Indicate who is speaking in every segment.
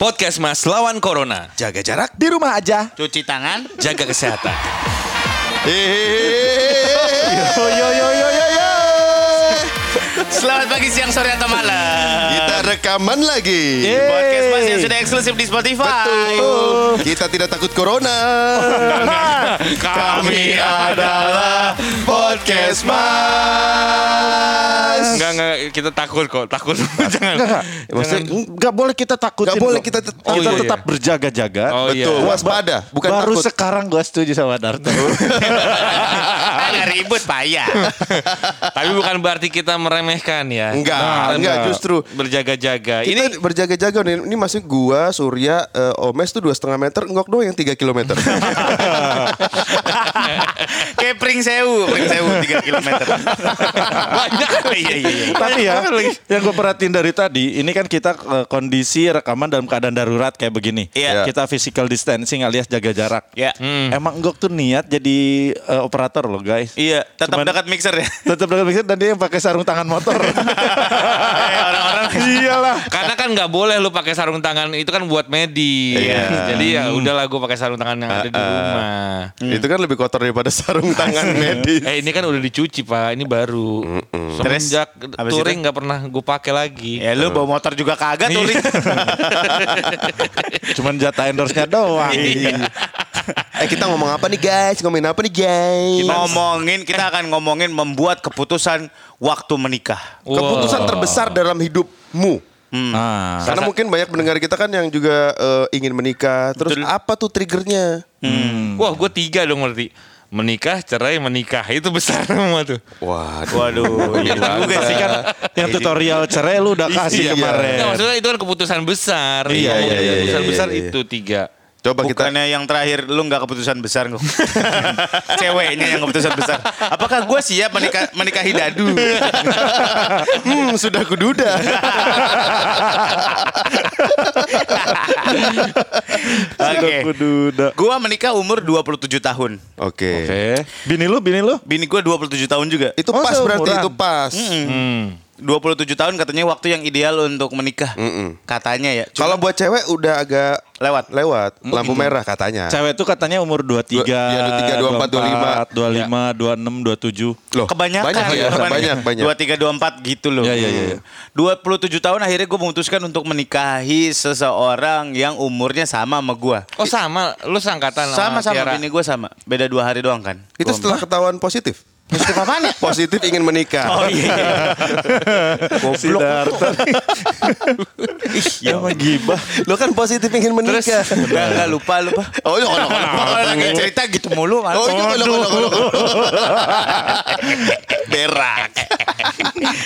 Speaker 1: Podcast Mas lawan Corona.
Speaker 2: Jaga jarak di rumah aja.
Speaker 3: Cuci tangan.
Speaker 1: Jaga kesehatan.
Speaker 2: Yo yo yo yo yo yo.
Speaker 3: Selamat pagi, siang, sore, atau malam.
Speaker 4: Kita rekaman lagi.
Speaker 2: Yeay.
Speaker 3: Podcast Mas yang sudah eksklusif di Spotify.
Speaker 4: Betul. Kita tidak takut corona.
Speaker 3: Kami
Speaker 4: adalah podcast Mas.
Speaker 1: Enggak, enggak, kita takut kok, takut. Jangan.
Speaker 2: Maksudnya nggak boleh kita takutin.
Speaker 4: Nggak boleh
Speaker 2: kok.
Speaker 4: kita tet-
Speaker 2: kita
Speaker 1: Oh, iya, iya.
Speaker 2: tetap berjaga-jaga.
Speaker 1: Oh, iya.
Speaker 4: Betul. Waspada, bukan
Speaker 2: Baru
Speaker 4: takut.
Speaker 2: sekarang gue setuju sama Darto.
Speaker 3: Ah, nggak ribut, payah.
Speaker 1: Tapi bukan berarti kita meremehkan ya.
Speaker 4: Enggak,
Speaker 1: Nah,
Speaker 4: enggak justru.
Speaker 1: Berjaga-jaga.
Speaker 4: Ini
Speaker 1: Ini
Speaker 4: berjaga-jaga nih. Ini maksudnya gua, Surya, eh, Omes tuh dua setengah meter, ngok doang yang tiga kilometer.
Speaker 3: Kayak Pring Sewu, Pring Sewu 3 km. Banyak. Iya, iya, iya.
Speaker 2: Tapi ya, yang gue perhatiin dari tadi, ini kan kita eh, kondisi rekaman dalam keadaan darurat kayak begini.
Speaker 3: Iya.
Speaker 2: Kita physical distancing alias jaga jarak.
Speaker 3: Iya.
Speaker 2: Emang Enggok tuh niat jadi eh, operator loh guys.
Speaker 3: Iya, tetap
Speaker 2: Cuman-
Speaker 3: dekat mixer ya.
Speaker 2: Tetap dengan mixer dan dia yang pakai sarung tangan motor.
Speaker 3: Eh, Orang-orang
Speaker 2: Iyalah.
Speaker 1: karena kan nggak boleh lu pakai sarung tangan itu kan buat medis.
Speaker 4: Iya.
Speaker 1: Jadi ya udahlah gue pakai sarung tangan yang ada di rumah.
Speaker 4: Itu kan lebih kotor daripada sarung tangan medis.
Speaker 1: Eh ini kan udah dicuci pak, ini baru. Semenjak
Speaker 3: Terus, habis
Speaker 1: touring nggak pernah gue pakai lagi.
Speaker 4: Iya.
Speaker 3: Ya lu bawa motor juga kagak tuh. Ring.
Speaker 2: Cuman jatah endorse-nya doang.
Speaker 4: Eh kita ngomong apa nih guys? Ngomongin apa nih guys?
Speaker 3: Iya. Ngomongin kita akan ngomongin membuat keputusan waktu menikah.
Speaker 1: Wow.
Speaker 4: Keputusan terbesar dalam hidupmu.
Speaker 2: Ah.
Speaker 4: Karena mungkin banyak pendengar kita kan yang juga eh, ingin menikah. Terus apa tuh triggernya?
Speaker 1: Wah gue tiga dong berarti. Menikah, cerai, menikah itu besar semua tuh.
Speaker 4: Waduh.
Speaker 3: Waduh, iya juga
Speaker 2: Pasti
Speaker 3: sih
Speaker 2: kan yang tutorial cerai lu udah kasih
Speaker 4: Iya.
Speaker 2: kemarin.
Speaker 1: Nggak, maksudnya itu kan keputusan besar.
Speaker 2: Iya,
Speaker 1: Ngomong
Speaker 2: iya, iya,
Speaker 1: Keputusan
Speaker 4: iya,
Speaker 1: besar
Speaker 4: iya, iya.
Speaker 1: itu tiga.
Speaker 4: Coba kita
Speaker 3: Bukannya yang terakhir lu nggak keputusan besar Ngok. Ceweknya yang keputusan besar. Apakah gue siap menikah menikahi Dadu?
Speaker 4: Hmm, sudah kududa.
Speaker 3: Oke.
Speaker 2: Aku duda.
Speaker 3: Gua menikah umur 27 tahun.
Speaker 4: Oke.
Speaker 2: Oke. Bini lu, bini
Speaker 4: Nah.
Speaker 2: lu?
Speaker 3: Bini gue 27 tahun juga.
Speaker 4: Itu
Speaker 2: Oh,
Speaker 4: pas berarti
Speaker 2: seumuran.
Speaker 4: itu pas.
Speaker 3: 27 tahun katanya waktu yang ideal untuk menikah. Katanya ya. Cuma
Speaker 4: Kalau buat cewek udah agak
Speaker 3: lewat.
Speaker 4: lewat lampu merah katanya.
Speaker 2: Cewek tuh katanya umur 23,
Speaker 4: Dua- iya, 23, 24,
Speaker 2: 25, 26, 27.
Speaker 4: Loh,
Speaker 3: Kebanyakan
Speaker 4: banyak ya, banyak banyak. Ya,
Speaker 3: 23 24 gitu loh.
Speaker 2: Iya, iya, iya, iya.
Speaker 3: 27 tahun akhirnya gue memutuskan untuk menikahi seseorang yang umurnya sama sama gue.
Speaker 1: Oh sama, lu sangkatan
Speaker 3: Sama sama
Speaker 1: Tiara.
Speaker 3: bini gue sama. Beda dua hari doang kan.
Speaker 4: Itu
Speaker 3: Gua-
Speaker 4: setelah ketahuan positif.
Speaker 3: Positif apaan ya?
Speaker 4: Positif ingin menikah.
Speaker 3: Oh iya. iya.
Speaker 2: Si Darto. Ih, ya
Speaker 4: Iya.
Speaker 2: mah gibah.
Speaker 4: Lo kan positif ingin menikah.
Speaker 3: Enggak, enggak lupa lupa.
Speaker 4: Oh iya, oh, iya, oh, iya.
Speaker 3: Orang cerita gitu mulu malah.
Speaker 4: Oh, iya, iya, iya, iya, iya.
Speaker 3: berak.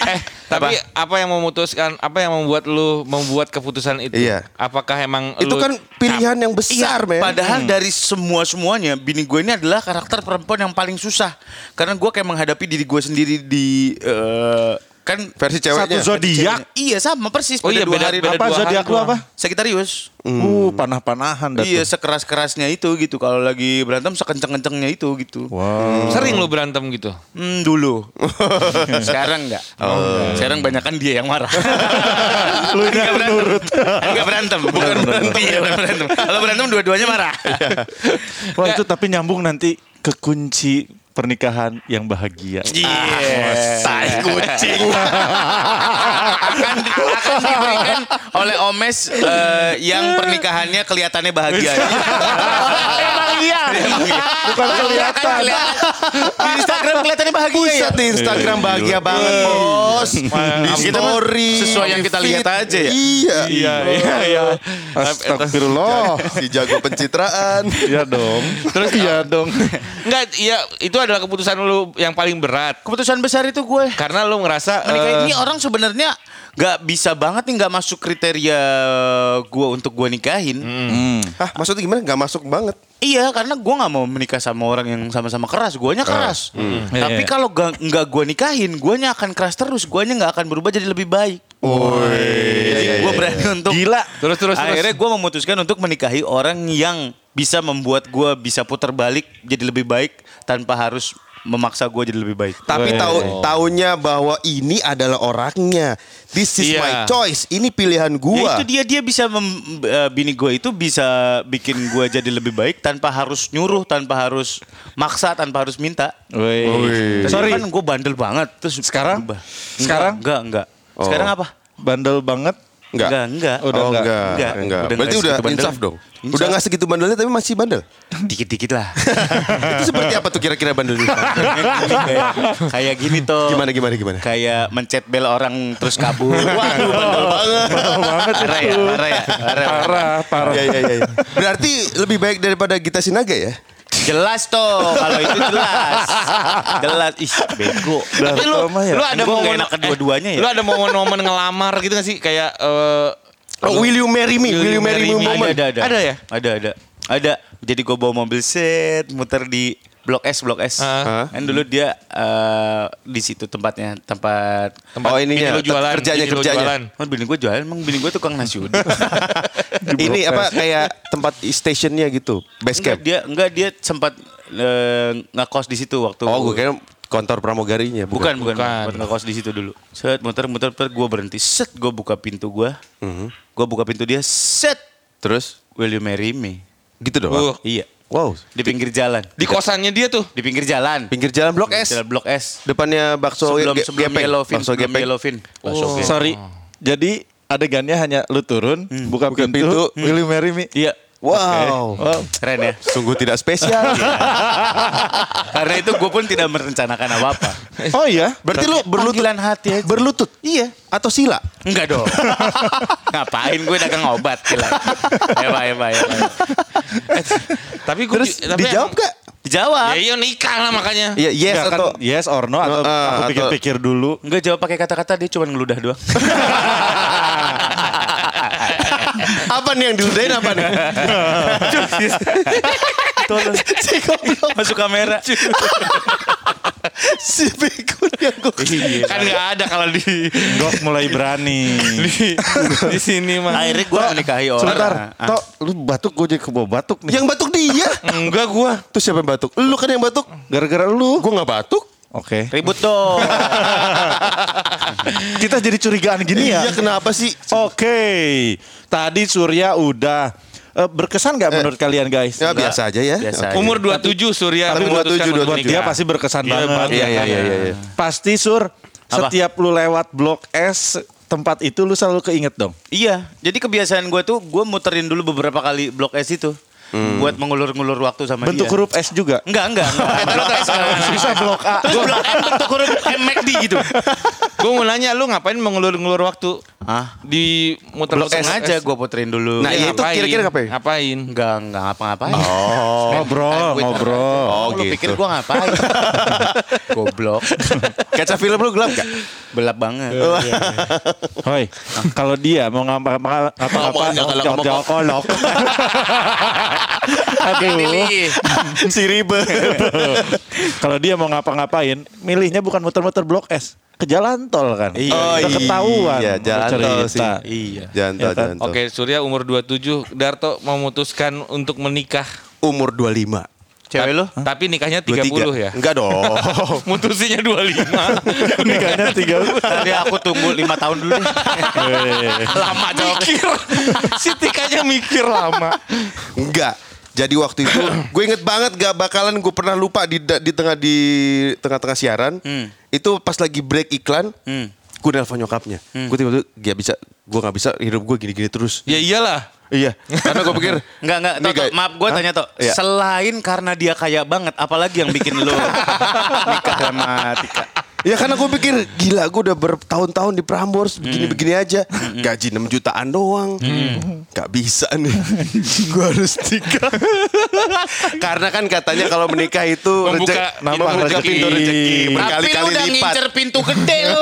Speaker 1: Eh, tapi apa? yang memutuskan, apa yang membuat lu membuat keputusan itu?
Speaker 4: Iya.
Speaker 1: Apakah emang
Speaker 4: Itu
Speaker 1: lu
Speaker 4: kan pilihan yang besar, men.
Speaker 3: iya, Padahal dari semua semuanya bini gue ini adalah karakter perempuan yang paling susah karena gue kayak menghadapi diri gue sendiri di eh, kan
Speaker 4: versi ceweknya.
Speaker 2: Satu zodiak.
Speaker 3: Iya sama persis.
Speaker 1: Oh iya,
Speaker 3: Beda dua
Speaker 1: beda-
Speaker 3: hari
Speaker 1: beda
Speaker 3: doang.
Speaker 2: Apa
Speaker 1: dua
Speaker 2: zodiak
Speaker 1: hari
Speaker 2: lu
Speaker 1: doang.
Speaker 2: apa?
Speaker 3: Sagittarius.
Speaker 4: Hmm.
Speaker 2: Uh, panah-panahan dah
Speaker 3: Iya
Speaker 2: tuh.
Speaker 3: sekeras kerasnya itu gitu kalau lagi berantem sekenceng kencengnya itu gitu.
Speaker 2: Wow.
Speaker 1: sering lu berantem gitu?
Speaker 3: Hmm, dulu. Sekarang enggak. Sekarang banyak kan dia yang marah.
Speaker 2: Lu ini
Speaker 3: Enggak berantem.
Speaker 2: nurut.
Speaker 3: Enggak berantem. Bukan berantem. Iya, bukan berantem. Kalau berantem dua-duanya marah.
Speaker 2: Wah, itu tapi nyambung nanti ke kunci pernikahan yang bahagia.
Speaker 3: Iya. Tai kucing. akan akan diberikan oleh Omes eh, yang pernikahannya kelihatannya bahagia. Emang iya.
Speaker 2: Bukan
Speaker 4: Iya.
Speaker 2: kelihatan.
Speaker 3: Di Instagram kelihatannya bahagia ya.
Speaker 4: Buset di Instagram bahagia banget, Bos. Di
Speaker 3: Kita mah
Speaker 4: story.
Speaker 3: sesuai yang
Speaker 4: di
Speaker 3: kita lihat
Speaker 4: feed.
Speaker 3: aja ya.
Speaker 4: Iya.
Speaker 2: Iya, iya, iya. Astagfirullah.
Speaker 4: Si jago pencitraan.
Speaker 2: Iya dong. Terus iya dong.
Speaker 1: Enggak, iya itu adalah keputusan lu yang paling berat.
Speaker 3: Keputusan besar itu gue.
Speaker 1: Karena lu ngerasa
Speaker 3: Menikah
Speaker 1: eh,
Speaker 3: ini orang sebenarnya nggak bisa banget nih nggak masuk kriteria gue untuk gue nikahin.
Speaker 4: Hah, Ah, maksudnya gimana? Gak masuk banget.
Speaker 3: Iya, karena gue nggak mau menikah sama orang yang sama-sama keras. Guanya keras. Tapi
Speaker 2: Iya, iya.
Speaker 3: kalau ga- nggak gue nikahin, guanya akan keras terus. Guanya nggak akan berubah jadi lebih baik. gue berani untuk
Speaker 2: Gila.
Speaker 1: Terus, terus, terus.
Speaker 3: Akhirnya gue memutuskan untuk menikahi orang yang bisa membuat gue bisa putar balik jadi lebih baik tanpa harus memaksa gue jadi lebih baik.
Speaker 4: Tapi tahu taunya bahwa ini adalah orangnya. This is
Speaker 1: Iya.
Speaker 4: my choice. Ini pilihan
Speaker 3: Ya
Speaker 4: gua.
Speaker 3: itu dia dia bisa mem- eh, bini gue itu bisa bikin gue jadi lebih baik tanpa harus nyuruh, tanpa harus maksa, tanpa harus minta.
Speaker 2: Woi.
Speaker 3: Tadi
Speaker 2: Sorry,
Speaker 3: kan gue bandel banget terus
Speaker 2: Sekarang?
Speaker 3: berubah.
Speaker 2: Sekarang?
Speaker 3: enggak enggak.
Speaker 4: Oh.
Speaker 3: Sekarang apa?
Speaker 2: bandel banget.
Speaker 4: Enggak.
Speaker 3: enggak. enggak.
Speaker 2: Udah
Speaker 4: oh,
Speaker 2: enggak.
Speaker 4: enggak. Enggak.
Speaker 3: Enggak. Udah
Speaker 4: Berarti
Speaker 3: enggak
Speaker 4: udah
Speaker 3: segitu bandel.
Speaker 4: insaf dong.
Speaker 3: Insaf.
Speaker 4: Udah nggak segitu bandelnya tapi masih bandel.
Speaker 3: Dikit-dikit lah.
Speaker 4: itu seperti apa tuh kira-kira bandelnya?
Speaker 3: kayak, kayak gini tuh.
Speaker 4: gimana gimana gimana?
Speaker 3: Kayak mencet bel orang terus kabur. Waduh, bandel banget. Parah ya, parah ya, parah.
Speaker 2: Parah, parah.
Speaker 4: Ya, ya, ya, ya. Berarti lebih baik daripada Gita Sinaga ya?
Speaker 3: Jelas tuh kalau itu jelas. Jelas. Ih, bego.
Speaker 2: Dah,
Speaker 3: Tapi lu,
Speaker 2: Toma ya.
Speaker 3: lu ada
Speaker 1: Gua
Speaker 3: mau
Speaker 1: mau-
Speaker 3: enak kedua-duanya ya?
Speaker 1: Lu ada momen-momen ngelamar gitu gak sih? Kayak eh,
Speaker 4: Oh, will you marry me? Will you marry
Speaker 3: ada,
Speaker 4: me? moment?
Speaker 3: ada, ada.
Speaker 1: Ada ya?
Speaker 3: Ada, ada. Ada. Jadi gue bawa mobil set, muter di Blok S, Blok S.
Speaker 1: Ah.
Speaker 3: Kan dulu dia eh, di situ tempatnya, tempat...
Speaker 1: tempat
Speaker 4: Oh,
Speaker 1: bini
Speaker 4: ininya,
Speaker 1: lu jualan,
Speaker 4: kerjanya,
Speaker 1: bini lu
Speaker 4: kerjanya.
Speaker 1: jualan.
Speaker 3: Oh, bini gue jualan, emang bini gue tukang nasi uduk.
Speaker 4: Ini apa kayak tempat stationnya gitu, base
Speaker 3: enggak,
Speaker 4: camp.
Speaker 3: dia, enggak, dia sempat eh, ngekos di situ waktu...
Speaker 4: Oh, gue kira kantor pramugarinya.
Speaker 3: Bukan, bukan.
Speaker 1: Bukan.
Speaker 3: Buat ngekos di situ dulu. Set, muter, muter, muter. Gue berhenti. Set, gue buka pintu gue. Gue buka pintu dia. Set,
Speaker 4: Mhm. Terus
Speaker 3: will you marry me?
Speaker 4: gitu
Speaker 1: Uh,
Speaker 4: doang.
Speaker 3: Iya.
Speaker 4: Wow.
Speaker 3: Di pinggir jalan.
Speaker 1: Di kosannya dia tuh.
Speaker 3: Di pinggir jalan.
Speaker 4: Pinggir jalan Blok S.
Speaker 3: Jalan Blok S.
Speaker 4: Depannya bakso
Speaker 3: Sebelum,
Speaker 4: ge-
Speaker 3: sebelum
Speaker 4: gepeng.
Speaker 3: Yellowfin.
Speaker 4: Bakso
Speaker 3: sebelum
Speaker 4: gepeng.
Speaker 3: Yellowfin.
Speaker 4: Bakso gepeng.
Speaker 2: Sorry. Jadi adegannya hanya lu turun, buka,
Speaker 4: Buka
Speaker 2: pintu, Hmm.
Speaker 4: pintu.
Speaker 2: Will you marry me?
Speaker 3: Iya.
Speaker 4: Wow.
Speaker 2: Wow.
Speaker 3: Keren ya.
Speaker 4: Sungguh tidak spesial.
Speaker 3: Karena itu gue pun tidak merencanakan apa-apa.
Speaker 2: Oh iya.
Speaker 4: Berarti lu berlutut.
Speaker 3: Panggilan hati aja.
Speaker 4: Berlutut. Iya. Atau sila.
Speaker 3: Enggak dong. Ngapain gue dagang obat. Gila. Eva, Eva, Eva.
Speaker 1: Tapi gue
Speaker 4: Terus dijawab gak?
Speaker 1: Ya
Speaker 3: Dijawab.
Speaker 1: iya nikah lah makanya.
Speaker 4: Iya, yes
Speaker 2: Nggak, kan
Speaker 4: atau
Speaker 2: yes or no atau
Speaker 4: No, eh,
Speaker 2: aku
Speaker 4: atau-
Speaker 2: pikir-pikir dulu.
Speaker 3: Enggak jawab pakai kata-kata dia cuma ngeludah doang.
Speaker 4: apa nih yang diludahin apa nih?
Speaker 3: Tolong.
Speaker 4: si goblok,
Speaker 3: Masuk kamera.
Speaker 4: si pikun yang gue
Speaker 1: Kan nggak ada kalau di
Speaker 2: Gok mulai berani.
Speaker 1: di, di sini mah.
Speaker 3: Akhirnya gue menikahi orang.
Speaker 2: Sebentar,
Speaker 3: Ah,
Speaker 2: Tok, lu batuk gue jadi kebawa batuk nih.
Speaker 4: Yang batuk dia.
Speaker 1: Enggak gua.
Speaker 4: Terus siapa yang batuk? Lu kan yang batuk.
Speaker 2: Gara-gara lu.
Speaker 4: Gue gak batuk.
Speaker 2: Oke.
Speaker 3: Ribut dong.
Speaker 2: Eh, Kita jadi curigaan gini ya.
Speaker 4: Iya kenapa sih?
Speaker 2: Oke, tadi Surya udah Eh, berkesan nggak menurut kalian guys?
Speaker 4: Ya biasa aja ya.
Speaker 3: Biasa aja.
Speaker 1: Umur 27 Surya
Speaker 4: Tapi
Speaker 1: memutuskan
Speaker 4: 27,
Speaker 1: untuk
Speaker 2: Dia
Speaker 4: 27.
Speaker 1: nikah.
Speaker 2: pasti berkesan Iya. banget.
Speaker 4: Iya, iya, iya, iya, iya.
Speaker 2: Pasti Sur,
Speaker 3: Apa?
Speaker 2: setiap lu lewat Blok S tempat itu lu selalu keinget dong.
Speaker 3: iya, jadi kebiasaan gue tuh gue muterin dulu beberapa kali blok S itu
Speaker 4: Hmm.
Speaker 3: buat mengulur-ngulur waktu sama
Speaker 2: Bentuk
Speaker 3: dia.
Speaker 2: huruf S juga.
Speaker 3: Enggak, enggak, enggak. blok S
Speaker 2: Bisa Blok A.
Speaker 3: Terus blok M bentuk huruf MXD gitu.
Speaker 1: Gue mau nanya lu ngapain mengulur-ngulur waktu?
Speaker 3: Hah?
Speaker 1: Di muter
Speaker 3: Blok S aja gue puterin dulu.
Speaker 4: Nah, iya. itu kira-kira ngapain?
Speaker 1: Ngapain?
Speaker 3: Enggak, enggak ngapa-ngapain.
Speaker 2: Oh, ngobrol, ngobrol.
Speaker 4: Oh,
Speaker 3: Lu
Speaker 4: gitu.
Speaker 3: pikir gue ngapain? Goblok.
Speaker 4: Kaca film lu gelap gak?
Speaker 3: Belap banget.
Speaker 2: Iya, Hoi, kalau dia mau ngapa-ngapa
Speaker 4: Ngomong,
Speaker 2: ngapa-ngapa
Speaker 4: jangan ngomong.
Speaker 2: jauh-jauh kolok. Aduh,
Speaker 4: si ribe.
Speaker 3: Iya,
Speaker 2: kalau dia mau ngapa-ngapain, milihnya bukan muter-muter Blok S, ke jalan tol kan.
Speaker 3: Iya,
Speaker 2: Udah
Speaker 4: iya.
Speaker 2: ketahuan.
Speaker 4: Iya, jalan
Speaker 2: cerita.
Speaker 4: tol sih.
Speaker 3: Iya.
Speaker 4: Janto,
Speaker 2: Ya kan?
Speaker 4: janto.
Speaker 1: Oke, Surya umur 27, Darto memutuskan untuk menikah.
Speaker 4: Umur 25.
Speaker 3: Cewek lu?
Speaker 1: Ta- Tapi nikahnya 30 ya.
Speaker 4: Enggak dong.
Speaker 1: Mutusinya 25.
Speaker 2: Nikahnya tiga.
Speaker 3: Tadi aku tunggu lima tahun dulu deh.
Speaker 2: Iya,
Speaker 1: lama mikir. si tikanya mikir lama.
Speaker 4: Enggak. Jadi waktu itu gue inget banget gak bakalan gue pernah lupa di di tengah di tengah-tengah siaran.
Speaker 3: Hmm.
Speaker 4: Itu pas lagi break iklan,
Speaker 3: Hmm.
Speaker 4: gue nelfon nyokapnya. Gue tiba-tiba gak bisa, gue gak bisa hidup gue gini-gini terus.
Speaker 1: Ya iyalah.
Speaker 4: Iya. Karena gue pikir
Speaker 3: Enggak, enggak.
Speaker 4: Ini
Speaker 3: Tok, Tok,
Speaker 4: kayak-
Speaker 3: maaf gue
Speaker 4: Hah?
Speaker 3: tanya, Tok.
Speaker 4: Iya.
Speaker 3: Selain karena dia kaya banget, apalagi yang bikin lo nikah sama Tika?
Speaker 4: Ya karena gue pikir gila gue udah bertahun-tahun di Prambors begini-begini aja gaji 6 jutaan doang nggak bisa nih gue harus nikah karena kan katanya kalau menikah itu
Speaker 1: Membuka-
Speaker 4: rejek-
Speaker 1: membuka
Speaker 4: membuka
Speaker 1: rezeki.
Speaker 4: pintu rezeki berkali-kali
Speaker 3: udah
Speaker 4: lipat
Speaker 3: ngincer pintu gede lo.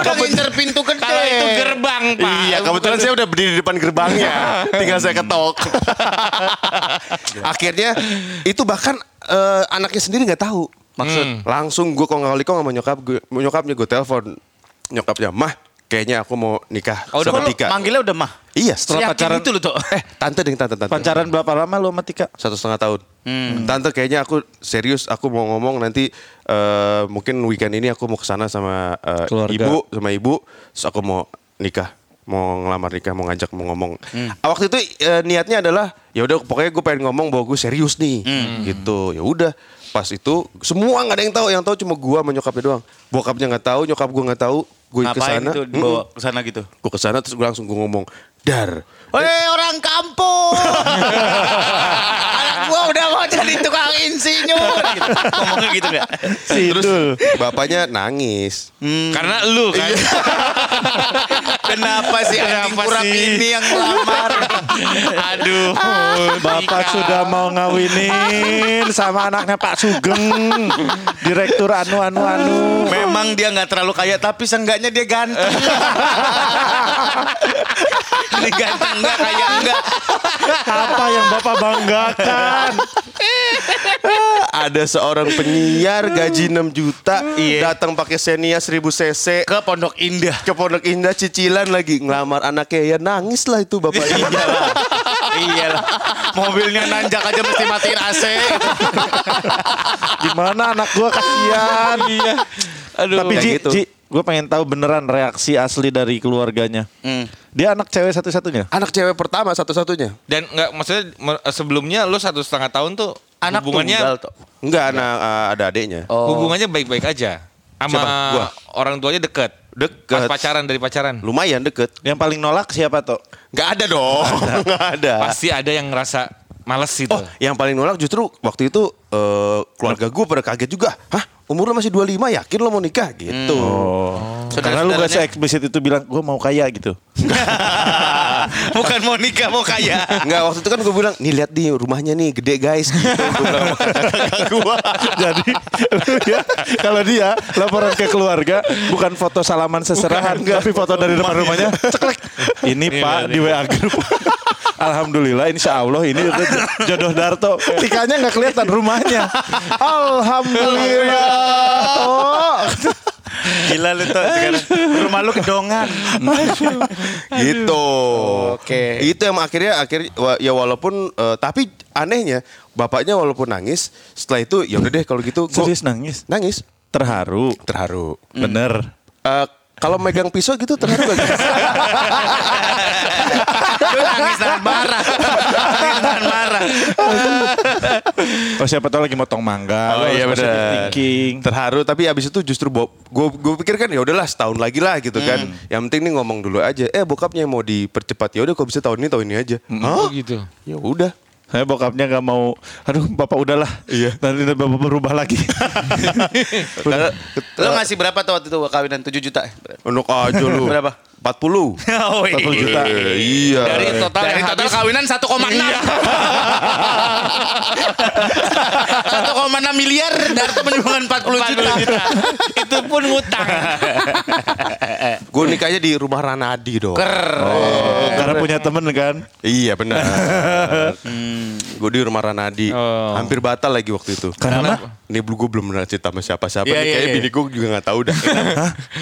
Speaker 3: udah ngincer pintu gede.
Speaker 1: Kalau itu gerbang, Pak.
Speaker 4: Iya kebetulan saya udah berdiri di depan gerbangnya Tinggal saya ketok Akhirnya itu bahkan eh, anaknya sendiri nggak tahu Maksud Langsung gue kong kali kong sama nyokap gue Nyokapnya gue telepon Nyokapnya Mah kayaknya aku mau nikah
Speaker 3: Oh, udah
Speaker 4: sama
Speaker 3: lu
Speaker 4: Tika
Speaker 3: manggilnya udah mah.
Speaker 4: Iya setelah
Speaker 3: Seyakin
Speaker 4: pacaran
Speaker 3: itu lo, Tok. Eh,
Speaker 4: Eh tante dengan tante tante
Speaker 2: Pacaran berapa lama lu sama Tika?
Speaker 4: Satu setengah tahun
Speaker 3: Hmm.
Speaker 4: Tante kayaknya aku serius aku mau ngomong nanti eh, mungkin weekend ini aku mau kesana sama eh,
Speaker 2: Keluarga.
Speaker 4: ibu sama ibu terus aku mau nikah mau ngelamar nikah mau ngajak mau ngomong
Speaker 3: Hmm.
Speaker 4: Ah, waktu itu eh, niatnya adalah ya udah pokoknya gue pengen ngomong bahwa gue serius nih
Speaker 3: Hmm.
Speaker 4: gitu ya udah pas itu semua nggak ada yang tahu yang tahu cuma gua menyokapnya doang bokapnya nggak tahu nyokap gua nggak tahu gue
Speaker 3: Ngapain
Speaker 4: kesana
Speaker 3: itu dibawa ke sana gitu?
Speaker 4: gue kesana terus gue langsung gue ngomong dar
Speaker 3: Weh orang kampung. Anak gua udah mau jadi tukang insinyur. Gitu. Ngomongnya gitu enggak?
Speaker 4: terus bapaknya nangis
Speaker 3: hmm,
Speaker 1: Karena lu kan.
Speaker 4: Iya.
Speaker 3: Kenapa sih anjing
Speaker 1: Kenapa
Speaker 3: kurang
Speaker 1: sih?
Speaker 3: ini yang ngelamar? Ah.
Speaker 1: Aduh.
Speaker 2: Bapak sudah mau ngawinin sama anaknya Pak Sugeng, direktur anu anu anu.
Speaker 3: Memang dia nggak terlalu kaya tapi seenggaknya dia ganteng. ini ganteng enggak kaya enggak.
Speaker 2: Apa yang Bapak banggakan?
Speaker 4: ada seorang penyiar gaji 6 juta datang pakai Xenia 1000 cc
Speaker 3: Ke Pondok Indah.
Speaker 4: ke Pondok Indah cicilan lagi ngelamar anaknya ya nangis lah itu bapak
Speaker 3: Iya lah. Iya lah. Mobilnya nanjak aja mesti matiin AC.
Speaker 2: Gimana anak gua kasihan.
Speaker 1: Iya. Aduh.
Speaker 2: Tapi
Speaker 4: kayak
Speaker 2: Ji,
Speaker 4: gitu.
Speaker 2: Ji, gue pengen tahu beneran reaksi asli dari keluarganya.
Speaker 3: Hmm.
Speaker 2: Dia anak cewek satu-satunya.
Speaker 4: anak cewek pertama satu-satunya
Speaker 1: Dan nggak maksudnya me- sebelumnya lu satu setengah tahun tuh
Speaker 3: Anak tunggal
Speaker 1: hubungannya
Speaker 3: tuh.
Speaker 4: enggak anak eh, ada adiknya
Speaker 1: hubungannya baik-baik aja. Sama
Speaker 4: Siapa? Gua?
Speaker 1: orang tuanya deket. Pas
Speaker 4: Deket.
Speaker 1: pacaran dari pacaran.
Speaker 4: lumayan deket
Speaker 2: Yang paling nolak siapa toh?
Speaker 4: enggak ada dong enggak ada
Speaker 1: Pasti ada yang ngerasa males gitu.
Speaker 4: oh yang paling nolak justru waktu itu eh, keluarga gue pada kaget juga hah umur lo masih 25 yakin lo mau nikah gitu
Speaker 2: Hmm. Karena lu gak se eksplisit itu bilang gue mau kaya gitu.
Speaker 3: Bukan mau nikah, mau kaya.
Speaker 4: Enggak waktu itu kan gue bilang nih lihat nih rumahnya nih gede guys gitu. Gua bilang,
Speaker 2: gua. Jadi lu ya, kalau dia laporan ke keluarga bukan foto salaman seserahan tapi foto dari depan rumahnya ceklek. Ini Pak di WA grup. Alhamdulillah insya Allah ini jodoh Darto Tikanya nggak kelihatan rumahnya Alhamdulillah oh.
Speaker 3: Gila lu tuh sekarang. Rumah lu kedongan.
Speaker 4: gitu.
Speaker 3: Oke.
Speaker 4: Itu yang akhirnya akhirnya wa- ya walaupun eh, tapi anehnya bapaknya walaupun nangis setelah itu ya udah deh kalau gitu gua-
Speaker 2: Serius nangis
Speaker 4: nangis
Speaker 2: Terharu
Speaker 4: terharu.
Speaker 2: Bener
Speaker 4: Eh, kalau megang pisau gitu terharu gak guys?
Speaker 3: Lu nangis tahan marah. Nangis tahan marah.
Speaker 2: Oh siapa tahu lagi motong mangga
Speaker 4: Oh
Speaker 2: lu
Speaker 4: iya
Speaker 2: harus positive
Speaker 4: benar.
Speaker 2: thinking.
Speaker 4: Terharu tapi abis itu justru Bob gue gue pikir kan ya udahlah setahun lagi lah gitu kan. Yang penting nih ngomong dulu aja. Eh bokapnya yang mau dipercepat ya udah kok bisa tahun ini tahun ini aja. Hah?
Speaker 1: Oh gitu.
Speaker 4: Ya udah.
Speaker 2: Saya bokapnya nggak mau. Aduh, bapak udahlah. Iya. Nanti bapak berubah lagi.
Speaker 4: Karena
Speaker 3: Lu ngasih berapa tuh waktu itu kawinan? 7 juta.
Speaker 4: Enak aja lu.
Speaker 3: Berapa?
Speaker 4: 40.
Speaker 3: Oh,
Speaker 2: 40 juta.
Speaker 4: Eh, iya.
Speaker 1: Dari total
Speaker 3: Dari
Speaker 1: yang
Speaker 3: total
Speaker 1: habis-
Speaker 3: Iya. kawinan 1,6. 1,6 miliar Darto menyumbangkan 40 juta.
Speaker 1: Itu pun ngutang.
Speaker 4: Gue nikahnya di rumah Ranadi dong.
Speaker 2: Karena punya temen kan.
Speaker 4: Iya benar. Gue di rumah Ranadi.
Speaker 1: Oh.
Speaker 4: Hampir batal lagi waktu itu.
Speaker 2: Karena
Speaker 4: Ini gue belum pernah cerita sama siapa-siapa.
Speaker 3: Iya,
Speaker 4: nih.
Speaker 3: iya,
Speaker 4: Kayaknya
Speaker 3: iya.
Speaker 4: bini gue juga gak tahu dah.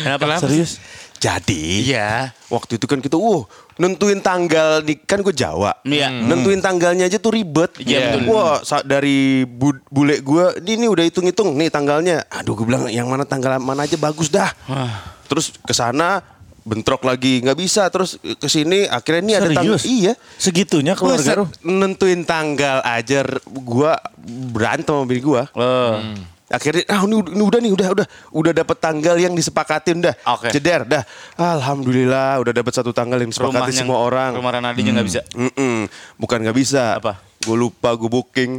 Speaker 3: Kenapa?
Speaker 2: serius.
Speaker 4: Jadi
Speaker 3: Iya.
Speaker 4: waktu itu kan kita, uh nentuin tanggal di kan gue Jawa.
Speaker 3: Iya.
Speaker 4: Nentuin tanggalnya aja tuh ribet. Gitu.
Speaker 3: Iya, betul.
Speaker 4: Wah sa- dari bu- bule gue, ini, ini udah hitung-hitung nih tanggalnya. Aduh gue bilang yang mana tanggal mana aja bagus dah. Terus ke sana bentrok lagi nggak bisa terus eh, ke sini akhirnya ini ada tanggal
Speaker 2: Serius?
Speaker 4: iya
Speaker 2: Segitunya
Speaker 4: Buset,
Speaker 2: Ya, keluarga lu.
Speaker 4: nentuin tanggal aja r- gua berantem sama
Speaker 3: Eh.
Speaker 4: bini gua. Akhirnya ah ini, ud- ini udah nih udah udah udah dapat tanggal yang disepakatin dah.
Speaker 3: Oke.
Speaker 4: Jeder dah. Alhamdulillah udah dapat satu tanggal yang disepakatin semua orang. Hmm.
Speaker 3: Rumah Ranadinya nggak bisa.
Speaker 4: Mm-mm. Bukan nggak bisa.
Speaker 3: Apa?
Speaker 4: Gue lupa gue booking.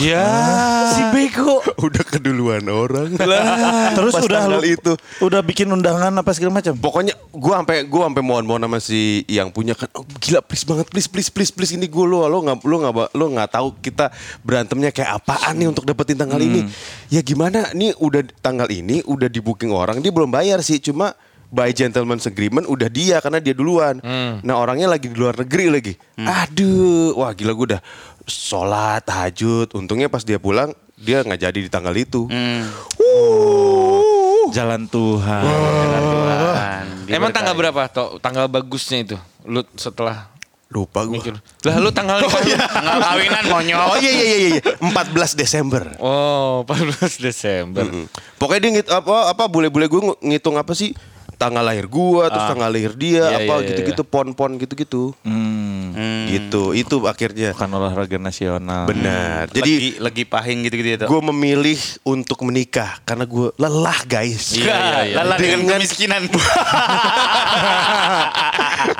Speaker 1: Ya.
Speaker 4: Ah,
Speaker 3: Si bego.
Speaker 4: udah keduluan orang.
Speaker 2: Terus
Speaker 4: Ah, Pas
Speaker 2: udah lu
Speaker 4: tanggal itu.
Speaker 2: udah bikin undangan apa segala macam.
Speaker 4: Pokoknya gua sampai gua sampai mohon-mohon sama si yang punya kan "Oh, gila please banget please please please please ini gua lo lo nggak lo nggak ba- lo nggak tahu kita berantemnya kayak apaan nih untuk dapetin tanggal ini. Ya gimana nih udah tanggal ini udah di booking orang dia belum bayar sih cuma by gentleman's agreement udah dia karena dia duluan. Nah orangnya lagi di luar negeri lagi. Aduh wah gila gua udah sholat tahajud untungnya pas dia pulang dia nggak jadi di tanggal itu. Wuh.
Speaker 2: Jalan Tuhan.
Speaker 1: Emang tanggal berapa? Tok? Tanggal bagusnya itu. Lu setelah
Speaker 4: Lupa gue.
Speaker 1: Mikir, Lah lu tanggal nikah
Speaker 4: iya.
Speaker 1: lu?
Speaker 3: Nggak kawinan monyok.
Speaker 4: Oh iya iya iya iya. 14 Desember.
Speaker 1: Oh, 14 Desember.
Speaker 4: Mm. Pokoknya dia ngit, apa apa bule-bule gue ng- ngitung apa sih tanggal lahir gua terus tanggal lahir dia
Speaker 1: Iya, iya,
Speaker 4: apa
Speaker 1: iya,
Speaker 4: gitu-gitu pon-pon gitu-gitu. Gitu. Itu akhirnya.
Speaker 2: Bukan olahraga nasional.
Speaker 4: Benar.
Speaker 3: Jadi
Speaker 4: Jadi
Speaker 3: lagi pahing gitu-gitu ya. Tok?
Speaker 4: gue memilih untuk menikah karena gue lelah guys.
Speaker 1: Iya, iya, iya.
Speaker 3: Lelah dengan
Speaker 4: Dengan-
Speaker 3: kemiskinan.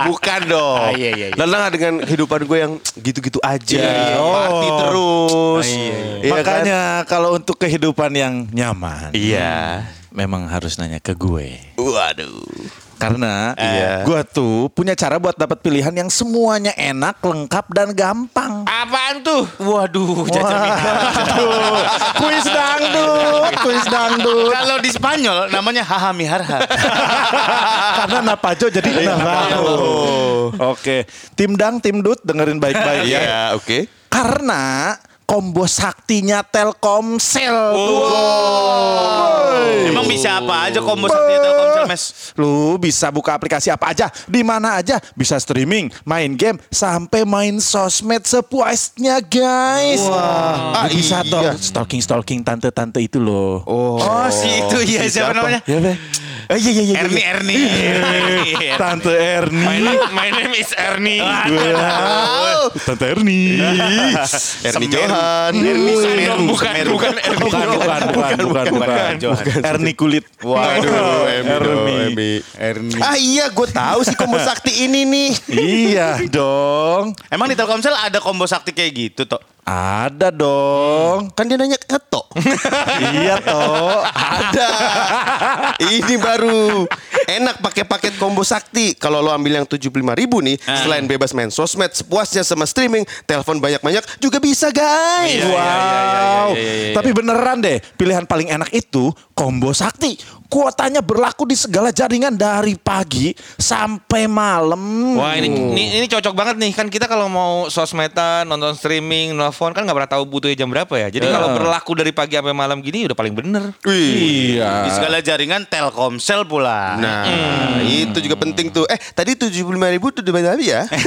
Speaker 4: Bukan dong.
Speaker 3: Ah, iya, iya, iya.
Speaker 4: Lelah dengan kehidupan gue yang gitu-gitu aja.
Speaker 1: Iya, iya.
Speaker 4: Party
Speaker 2: Oh.
Speaker 4: terus.
Speaker 1: Ah, iya,
Speaker 4: Iya kan?
Speaker 2: Makanya kalau untuk kehidupan yang nyaman,
Speaker 4: Iya.
Speaker 2: memang harus nanya ke gue.
Speaker 4: Waduh.
Speaker 2: Karena
Speaker 4: Iya.
Speaker 2: gue tuh punya cara buat dapat pilihan yang semuanya enak, lengkap, dan gampang.
Speaker 1: Apaan tuh?
Speaker 3: Waduh,
Speaker 2: Waduh, kuis dangdut, kuis dangdut.
Speaker 3: Kalau di Spanyol namanya haha miharha.
Speaker 2: Karena Napajo jadi
Speaker 4: Iya,
Speaker 2: Navarro. Oke, tim dang, tim dut dengerin baik-baik ya.
Speaker 4: Iya, oke.
Speaker 2: Karena combo saktinya Telkomsel. Woi.
Speaker 3: Emang bisa apa aja kombo saktinya Telkomsel, Mes?
Speaker 2: Lu bisa buka aplikasi apa aja, di mana aja, bisa streaming, main game, sampai main sosmed sepuasnya, guys. Wah, bisa dong stalking stalking tante-tante itu loh.
Speaker 3: Oh, si itu iya siapa namanya?
Speaker 2: Ya, Be. Eh, iya, iya, iya,
Speaker 3: Erni,
Speaker 2: iya.
Speaker 3: Erni. Iya.
Speaker 2: Tante Erni.
Speaker 1: My name, my name is Ernie.
Speaker 2: Wow. Tante Erni.
Speaker 4: Erni
Speaker 3: Semeru.
Speaker 4: Johan.
Speaker 3: Erni
Speaker 1: Bukan
Speaker 3: Semeru,
Speaker 1: dong, bukan,
Speaker 3: Semeru.
Speaker 1: bukan Ernie.
Speaker 2: Bukan, bukan, bukan, bukan, bukan. Erni kulit.
Speaker 4: Waduh, Emi dong,
Speaker 2: Erni.
Speaker 4: Emi.
Speaker 3: Erni.
Speaker 4: Ah iya, gue tahu sih Kombo Sakti ini nih.
Speaker 2: Iya dong.
Speaker 3: Emang di Telkomsel ada kombo sakti kayak gitu, Tok?
Speaker 2: Ada dong.
Speaker 4: Kan dia nanya ke Tok.
Speaker 2: iya toh.
Speaker 4: Ada. Ini baru. Enak pakai paket combo sakti. Kalau lo ambil yang 75.000 ribu nih,
Speaker 1: Ah.
Speaker 4: selain bebas main sosmed, sepuasnya sama streaming, telepon banyak-banyak juga bisa guys.
Speaker 1: Iya, iya,
Speaker 2: Wow.
Speaker 1: iya, iya, iya, iya.
Speaker 2: Tapi beneran deh, pilihan paling enak itu Combo Sakti. Kuotanya berlaku di segala jaringan dari pagi sampai malam.
Speaker 1: Wah ini, ini ini cocok banget nih kan kita kalau mau sosmedan nonton streaming nelfon kan nggak pernah tahu butuhnya jam berapa ya jadi kalau berlaku dari pagi sampai malam gini udah paling bener
Speaker 3: Di
Speaker 2: Iya.
Speaker 3: segala jaringan Telkomsel pula.
Speaker 4: Nah,
Speaker 1: Hmm.
Speaker 4: itu juga penting tuh. Eh, tadi 75.000 ribu tuh debat tadi ya?
Speaker 1: Eh.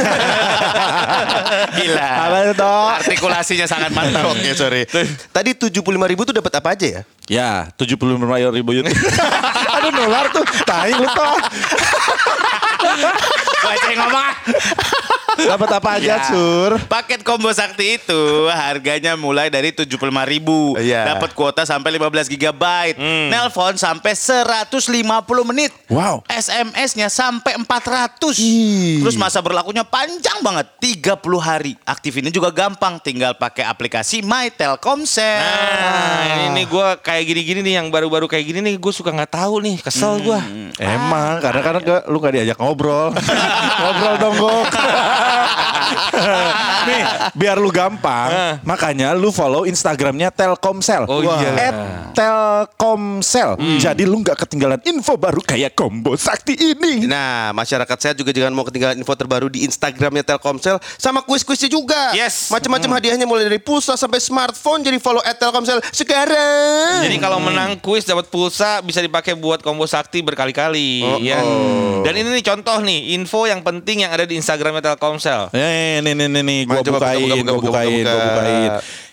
Speaker 3: Gila.
Speaker 2: Apa itu, Tok?
Speaker 3: Artikulasinya sangat mantap.
Speaker 4: Oke, sorry. Tadi 75.000 ribu tuh dapat apa aja ya?
Speaker 2: Ya, 75 ribu YouTube. Aduh nular tuh. Tai lu toh.
Speaker 3: Gua aja yang ngomong ah.
Speaker 2: Dapat apa aja,
Speaker 1: Iya.
Speaker 3: Ya.
Speaker 2: Sur?
Speaker 3: Paket combo sakti itu harganya mulai dari 75.000. ribu
Speaker 4: Iya.
Speaker 3: Dapat kuota sampai 15 GB. Nelpon sampai 150 menit.
Speaker 2: Wow.
Speaker 3: SMS-nya sampai 400. Terus masa berlakunya panjang banget, 30 hari. Aktifinnya juga gampang, tinggal pakai aplikasi My Telkomsel.
Speaker 1: nah ini, ini gue kayak gini-gini nih yang baru-baru kayak gini nih gue suka nggak tahu nih kesel gue
Speaker 2: Hmm, Emang, kadang-kadang ke- lu gak diajak ngobrol. ngobrol dong, Gok. Nih, biar lu gampang, makanya lu follow Instagramnya Telkomsel.
Speaker 1: Oh, iya. Hmm.
Speaker 2: At Telkomsel. Jadi lu gak ketinggalan info baru kayak combo sakti ini.
Speaker 4: Nah, masyarakat saya juga jangan mau ketinggalan info terbaru di Instagramnya Telkomsel sama kuis-kuisnya juga.
Speaker 3: Yes.
Speaker 1: Hmm.
Speaker 4: Macam-macam hadiahnya mulai dari pulsa sampai smartphone. Jadi follow at Telkomsel sekarang.
Speaker 1: jadi kalau menang kuis dapat pulsa bisa dipakai buat combo sakti berkali-kali ya dan ini nih contoh nih info yang penting yang ada di Instagramnya Telkomsel
Speaker 2: Eh, nih, nih, nih, nih,
Speaker 4: Ma,
Speaker 2: gua
Speaker 4: coba buka,
Speaker 2: bukain,
Speaker 4: buka, buka,
Speaker 2: gua
Speaker 4: buka,
Speaker 2: bukain,
Speaker 4: buka,
Speaker 2: gua
Speaker 4: buka.
Speaker 2: bukain.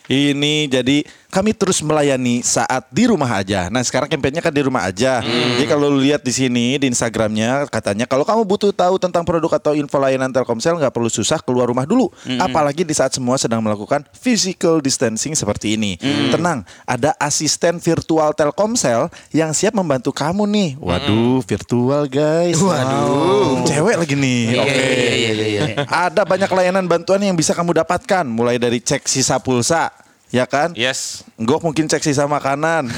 Speaker 2: Ini jadi kami terus melayani saat di rumah aja. Nah sekarang kampanyenya kan di rumah aja.
Speaker 4: Hmm.
Speaker 2: Jadi kalau lu lihat di sini di Instagramnya katanya kalau kamu butuh tahu tentang produk atau info layanan Telkomsel nggak perlu susah keluar rumah dulu.
Speaker 4: Hmm.
Speaker 2: Apalagi di saat semua sedang melakukan physical distancing seperti ini.
Speaker 4: Hmm.
Speaker 2: Tenang, ada asisten virtual Telkomsel yang siap membantu kamu nih.
Speaker 4: Hmm.
Speaker 2: Waduh, virtual guys. Waduh, cewek lagi nih.
Speaker 4: Iya,
Speaker 2: Oke. Ada banyak layanan bantuan yang bisa kamu dapatkan, mulai dari cek sisa pulsa, ya kan?
Speaker 3: Iya.
Speaker 1: yes
Speaker 2: Gok mungkin cek sisa makanan.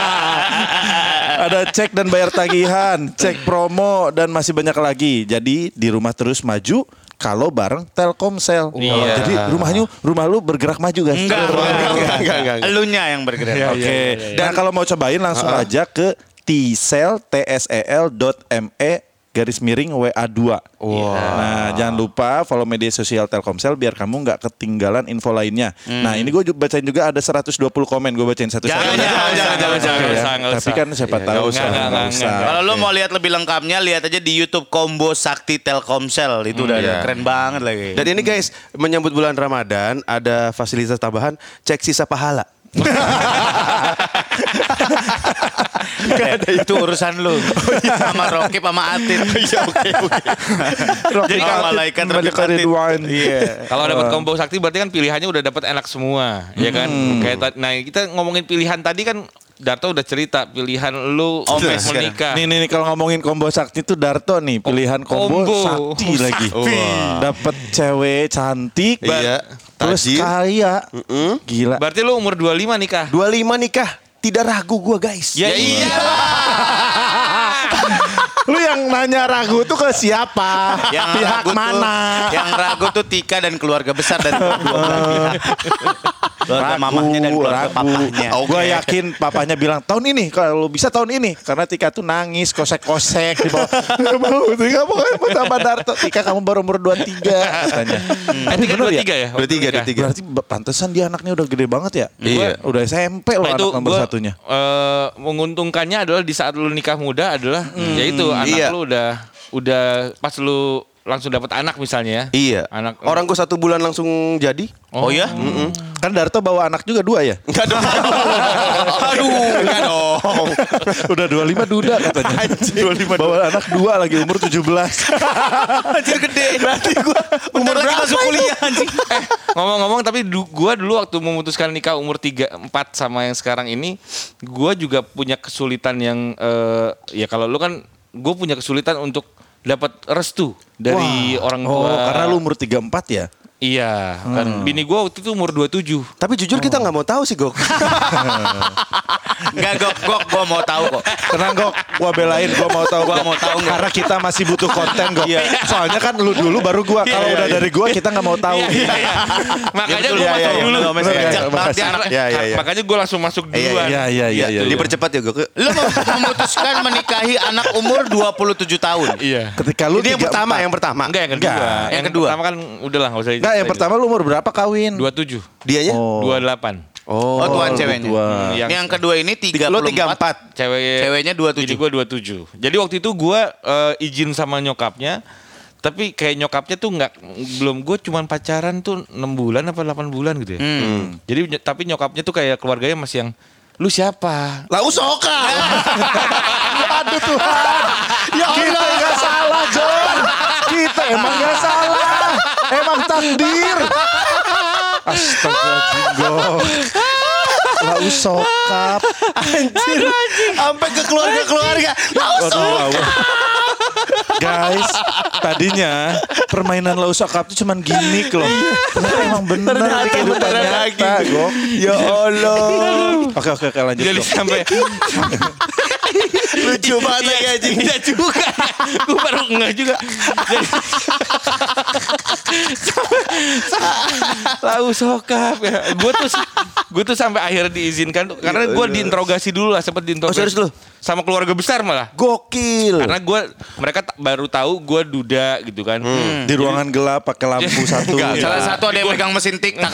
Speaker 2: Ada cek dan bayar tagihan, cek promo dan masih banyak lagi. Jadi di rumah terus maju kalau bareng Telkomsel.
Speaker 1: Iya.
Speaker 2: Jadi rumahnya rumah lu bergerak maju guys.
Speaker 3: Enggak,
Speaker 2: Bergerak.
Speaker 3: enggak, enggak,
Speaker 4: enggak, enggak, enggak.
Speaker 3: Elunya yang bergerak.
Speaker 2: Oke. E
Speaker 3: iya,
Speaker 2: Dan kalau mau cobain langsung aja ke tsel tsel.me E, garis miring WA2. Nah, jangan lupa follow media sosial Telkomsel biar kamu nggak ketinggalan info lainnya. Nah, ini gue bacain juga ada 120 komen, gue bacain satu-satu.
Speaker 3: Hmm. Jangan, jangan, jangan, jangan, jangan,
Speaker 2: Oke ya.
Speaker 1: jangan, nggak
Speaker 2: Tapi
Speaker 1: usah.
Speaker 2: kan siapa
Speaker 1: Iya,
Speaker 2: tahu
Speaker 1: nggak,
Speaker 2: usah,
Speaker 1: nggak,
Speaker 2: nggak
Speaker 1: nggak,
Speaker 2: usah.
Speaker 1: nggak.
Speaker 3: Kalau lo mau lihat lebih lengkapnya lihat aja di YouTube Combo Sakti Telkomsel itu udah
Speaker 4: iya.
Speaker 3: keren banget lagi.
Speaker 4: Dan ini guys, menyambut bulan Ramadan ada fasilitas tambahan cek sisa pahala.
Speaker 3: Eh, itu urusan lu sama Rokib sama Atin. iya. Oh, oke oke. Jadi kalau malaikat Rokib
Speaker 2: Malaikat
Speaker 3: Atin.
Speaker 2: Ridwan.
Speaker 3: Iya.
Speaker 1: Kalau dapat combo sakti berarti kan pilihannya udah dapat enak semua, ya kan? Kayak ta- nah kita ngomongin pilihan tadi kan Darto udah cerita pilihan lu
Speaker 3: Omes
Speaker 1: untuk
Speaker 3: sekarang.
Speaker 1: menikah.
Speaker 2: Nih nih nih, kalau ngomongin combo sakti itu Darto nih pilihan combo,
Speaker 1: Combo.
Speaker 2: sakti lagi.
Speaker 4: sakti.
Speaker 2: Dapat cewek cantik,
Speaker 4: Iya,
Speaker 2: terus
Speaker 4: tajir.
Speaker 2: kaya. Gila.
Speaker 1: Berarti lu umur 25 nikah.
Speaker 4: 25 nikah, tidak ragu gua guys.
Speaker 1: Ya iya.
Speaker 2: Lu yang nanya ragu tuh ke siapa?
Speaker 3: Yang
Speaker 2: Pihak
Speaker 3: ragu tuh-
Speaker 2: mana?
Speaker 3: yang ragu tuh Tika dan keluarga besar dan dua belas. keluarga mamahnya dan keluarga papahnya.
Speaker 2: Gue yakin papahnya bilang tahun ini kalau bisa tahun ini karena Tika tuh nangis kosek-kosek di bawah. Nggak mau Tika mau kan sama Darto. Tika kamu baru umur 23 katanya.
Speaker 1: Eh, tiga,
Speaker 2: Bener
Speaker 1: dua
Speaker 2: ya?
Speaker 1: tiga ya? waktu
Speaker 4: 23,
Speaker 1: nikah?
Speaker 4: 23.
Speaker 2: Berarti ba- pantesan dia anaknya udah gede banget ya?
Speaker 4: Iya.
Speaker 2: Gua Udah SMP loh
Speaker 1: Nah, itu
Speaker 2: anak nomor
Speaker 1: gua,
Speaker 2: satunya.
Speaker 1: eh, menguntungkannya adalah di saat lu nikah muda adalah yaitu anak
Speaker 4: iya.
Speaker 1: lu udah udah pas lu langsung dapat anak misalnya ya.
Speaker 4: Iya.
Speaker 1: Anak
Speaker 4: Orang gua satu bulan langsung jadi.
Speaker 3: Oh ya?
Speaker 2: Kan Darto bawa anak juga dua ya?
Speaker 4: Enggak dong.
Speaker 3: Aduh, enggak dong.
Speaker 2: udah 25 duda katanya. 25 bawa anak dua lagi umur 17.
Speaker 3: Anjir gede. Berarti gua umur lagi masuk kuliah anjing.
Speaker 1: Eh, ngomong-ngomong tapi du- gua dulu waktu memutuskan nikah umur 3 4 sama yang sekarang ini gua juga punya kesulitan yang eh, ya kalau lu kan gue punya kesulitan untuk dapat restu dari orang tua.
Speaker 2: Oh, karena lu Hmm. umur 34 ya?
Speaker 1: Iya, kan bini gua waktu itu umur 27.
Speaker 4: Tapi jujur kita nggak mau tahu sih Gok.
Speaker 3: Enggak gok gok gua mau tahu kok.
Speaker 2: Tenang kok, gua belain, gua mau tahu
Speaker 3: Gua
Speaker 2: Gok.
Speaker 3: mau tahu nggak?
Speaker 2: Karena kita masih butuh konten kok. Soalnya kan lu dulu baru gua. Kalau
Speaker 4: Iya,
Speaker 2: udah
Speaker 4: iya.
Speaker 2: dari gua kita nggak mau
Speaker 1: Iya,
Speaker 2: tahu.
Speaker 1: Ya, Makanya
Speaker 4: Ya,
Speaker 3: betul,
Speaker 1: gua
Speaker 2: Ya,
Speaker 3: iya,
Speaker 1: masuk
Speaker 3: iya, iya,
Speaker 1: dulu.
Speaker 3: betul, Mas.
Speaker 2: Bener,
Speaker 3: Kejam
Speaker 2: iya,
Speaker 3: banget
Speaker 1: Iya,
Speaker 3: dia anak.
Speaker 4: Iya, iya, iya.
Speaker 1: Makanya gua langsung masuk
Speaker 3: iya,
Speaker 1: duluan.
Speaker 2: Iya, iya, iya, iya.
Speaker 4: Dipercepat ya Gok.
Speaker 3: Lu mem- memutuskan menikahi anak umur 27 tahun.
Speaker 1: Iya.
Speaker 2: Ketika lu
Speaker 4: Ini yang
Speaker 2: 34.
Speaker 4: pertama, yang pertama.
Speaker 1: Enggak yang kedua.
Speaker 2: Enggak,
Speaker 1: Yang,
Speaker 3: yang kedua.
Speaker 1: pertama kan udahlah enggak usah.
Speaker 2: Enggak, yang pertama lu umur berapa kawin?
Speaker 1: 27,
Speaker 4: Dianya?
Speaker 2: Oh.
Speaker 1: 28.
Speaker 3: Oh, tuan
Speaker 2: lu
Speaker 3: ceweknya.
Speaker 2: tua.
Speaker 1: Hmm,
Speaker 3: Yang,
Speaker 1: yang-
Speaker 3: kedua ini 34.
Speaker 4: Lu 34.
Speaker 1: Cewek
Speaker 3: Ceweknya 27.
Speaker 1: Jadi gua 27. Jadi waktu itu gua eh, izin sama nyokapnya tapi kayak nyokapnya tuh nggak belum gue cuman pacaran tuh 6 bulan apa 8 bulan gitu ya.
Speaker 4: Hmm.
Speaker 1: Jadi ny- tapi nyokapnya tuh kayak keluarganya masih yang lu siapa?
Speaker 4: Lah usoka.
Speaker 2: Aduh Tuhan. Ya kita nggak salah, John. Kita emang nggak salah. Emang takdir. Astagfirullahaladzim, Gok. Lah usokap.
Speaker 3: Sampai ke keluarga-keluarga.
Speaker 2: Waduh, waduh. Guys, tadinya permainan Lausa Cup itu cuman gimmick loh. Ternyata emang bener di kehidupan
Speaker 3: beneran
Speaker 2: nyata,
Speaker 3: lagi.
Speaker 2: Gok. Ya Allah. Oke, oke, oke lanjut,
Speaker 1: Jadi
Speaker 2: Gok.
Speaker 1: sampai
Speaker 3: Lucu banget ya, lagi anjing.
Speaker 1: Iya juga. gue baru ngeh juga. Jadi- Lau sokap ya. Gue tuh gue tuh sampai akhir diizinkan tuh, karena gue diinterogasi dulu lah sempat diinterogasi.
Speaker 4: Iya, Oh, serius lu?
Speaker 1: Sama keluarga besar malah.
Speaker 4: Gokil.
Speaker 1: Karena gue mereka t- baru tahu gue duda gitu kan.
Speaker 4: Hmm.
Speaker 2: Di ruangan gelap pakai lampu satu.
Speaker 3: Enggak, salah
Speaker 2: Iya.
Speaker 3: satu ada yang pegang mesin tik tak.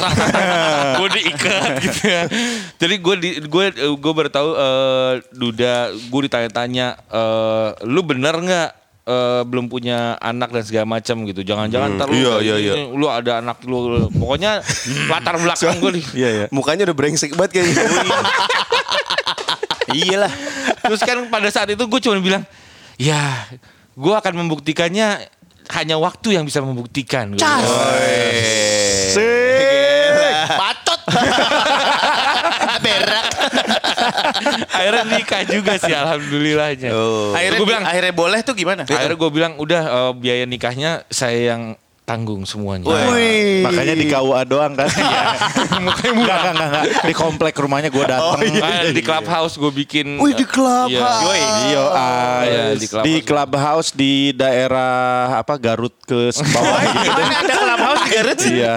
Speaker 1: gue diikat gitu ya. Jadi gue di gue gue baru tahu eh, duda gue ditanya-tanya eh, lu bener nggak eh, belum punya anak dan segala macam gitu. Jangan-jangan ntar lu
Speaker 4: iya, iya, iya.
Speaker 1: lu ada anak lu. Pokoknya latar belakang gue di-
Speaker 2: Iya, iya.
Speaker 4: Mukanya udah brengsek banget kayaknya.
Speaker 3: Iyalah.
Speaker 1: Terus kan pada saat itu gue cuma bilang, ya gue akan membuktikannya hanya waktu yang bisa membuktikan. Gua bilang.
Speaker 3: Patut. Ah, Berak.
Speaker 1: akhirnya nikah juga sih alhamdulillahnya.
Speaker 4: Oh.
Speaker 3: Akhirnya,
Speaker 1: Gua bilang-
Speaker 3: akhirnya boleh tuh gimana?
Speaker 1: Akhirnya gue bilang udah eh, biaya nikahnya saya yang tanggung semuanya.
Speaker 4: Wih.
Speaker 2: Makanya di KUA doang kan.
Speaker 1: Iya.
Speaker 2: Mukanya murah. Enggak, enggak, enggak. Di komplek rumahnya gue datang.
Speaker 1: Makanya
Speaker 3: Iya.
Speaker 1: di clubhouse gue bikin.
Speaker 4: Wih, di
Speaker 1: eh,
Speaker 4: clubhouse.
Speaker 1: iya. Yoi.
Speaker 2: Iya,
Speaker 1: Iya,
Speaker 2: di
Speaker 1: di
Speaker 2: clubhouse.
Speaker 1: clubhouse.
Speaker 2: di daerah apa Garut ke bawah gitu deh.
Speaker 1: Iya.
Speaker 3: Mana ada clubhouse di Garut sih?
Speaker 2: Iya.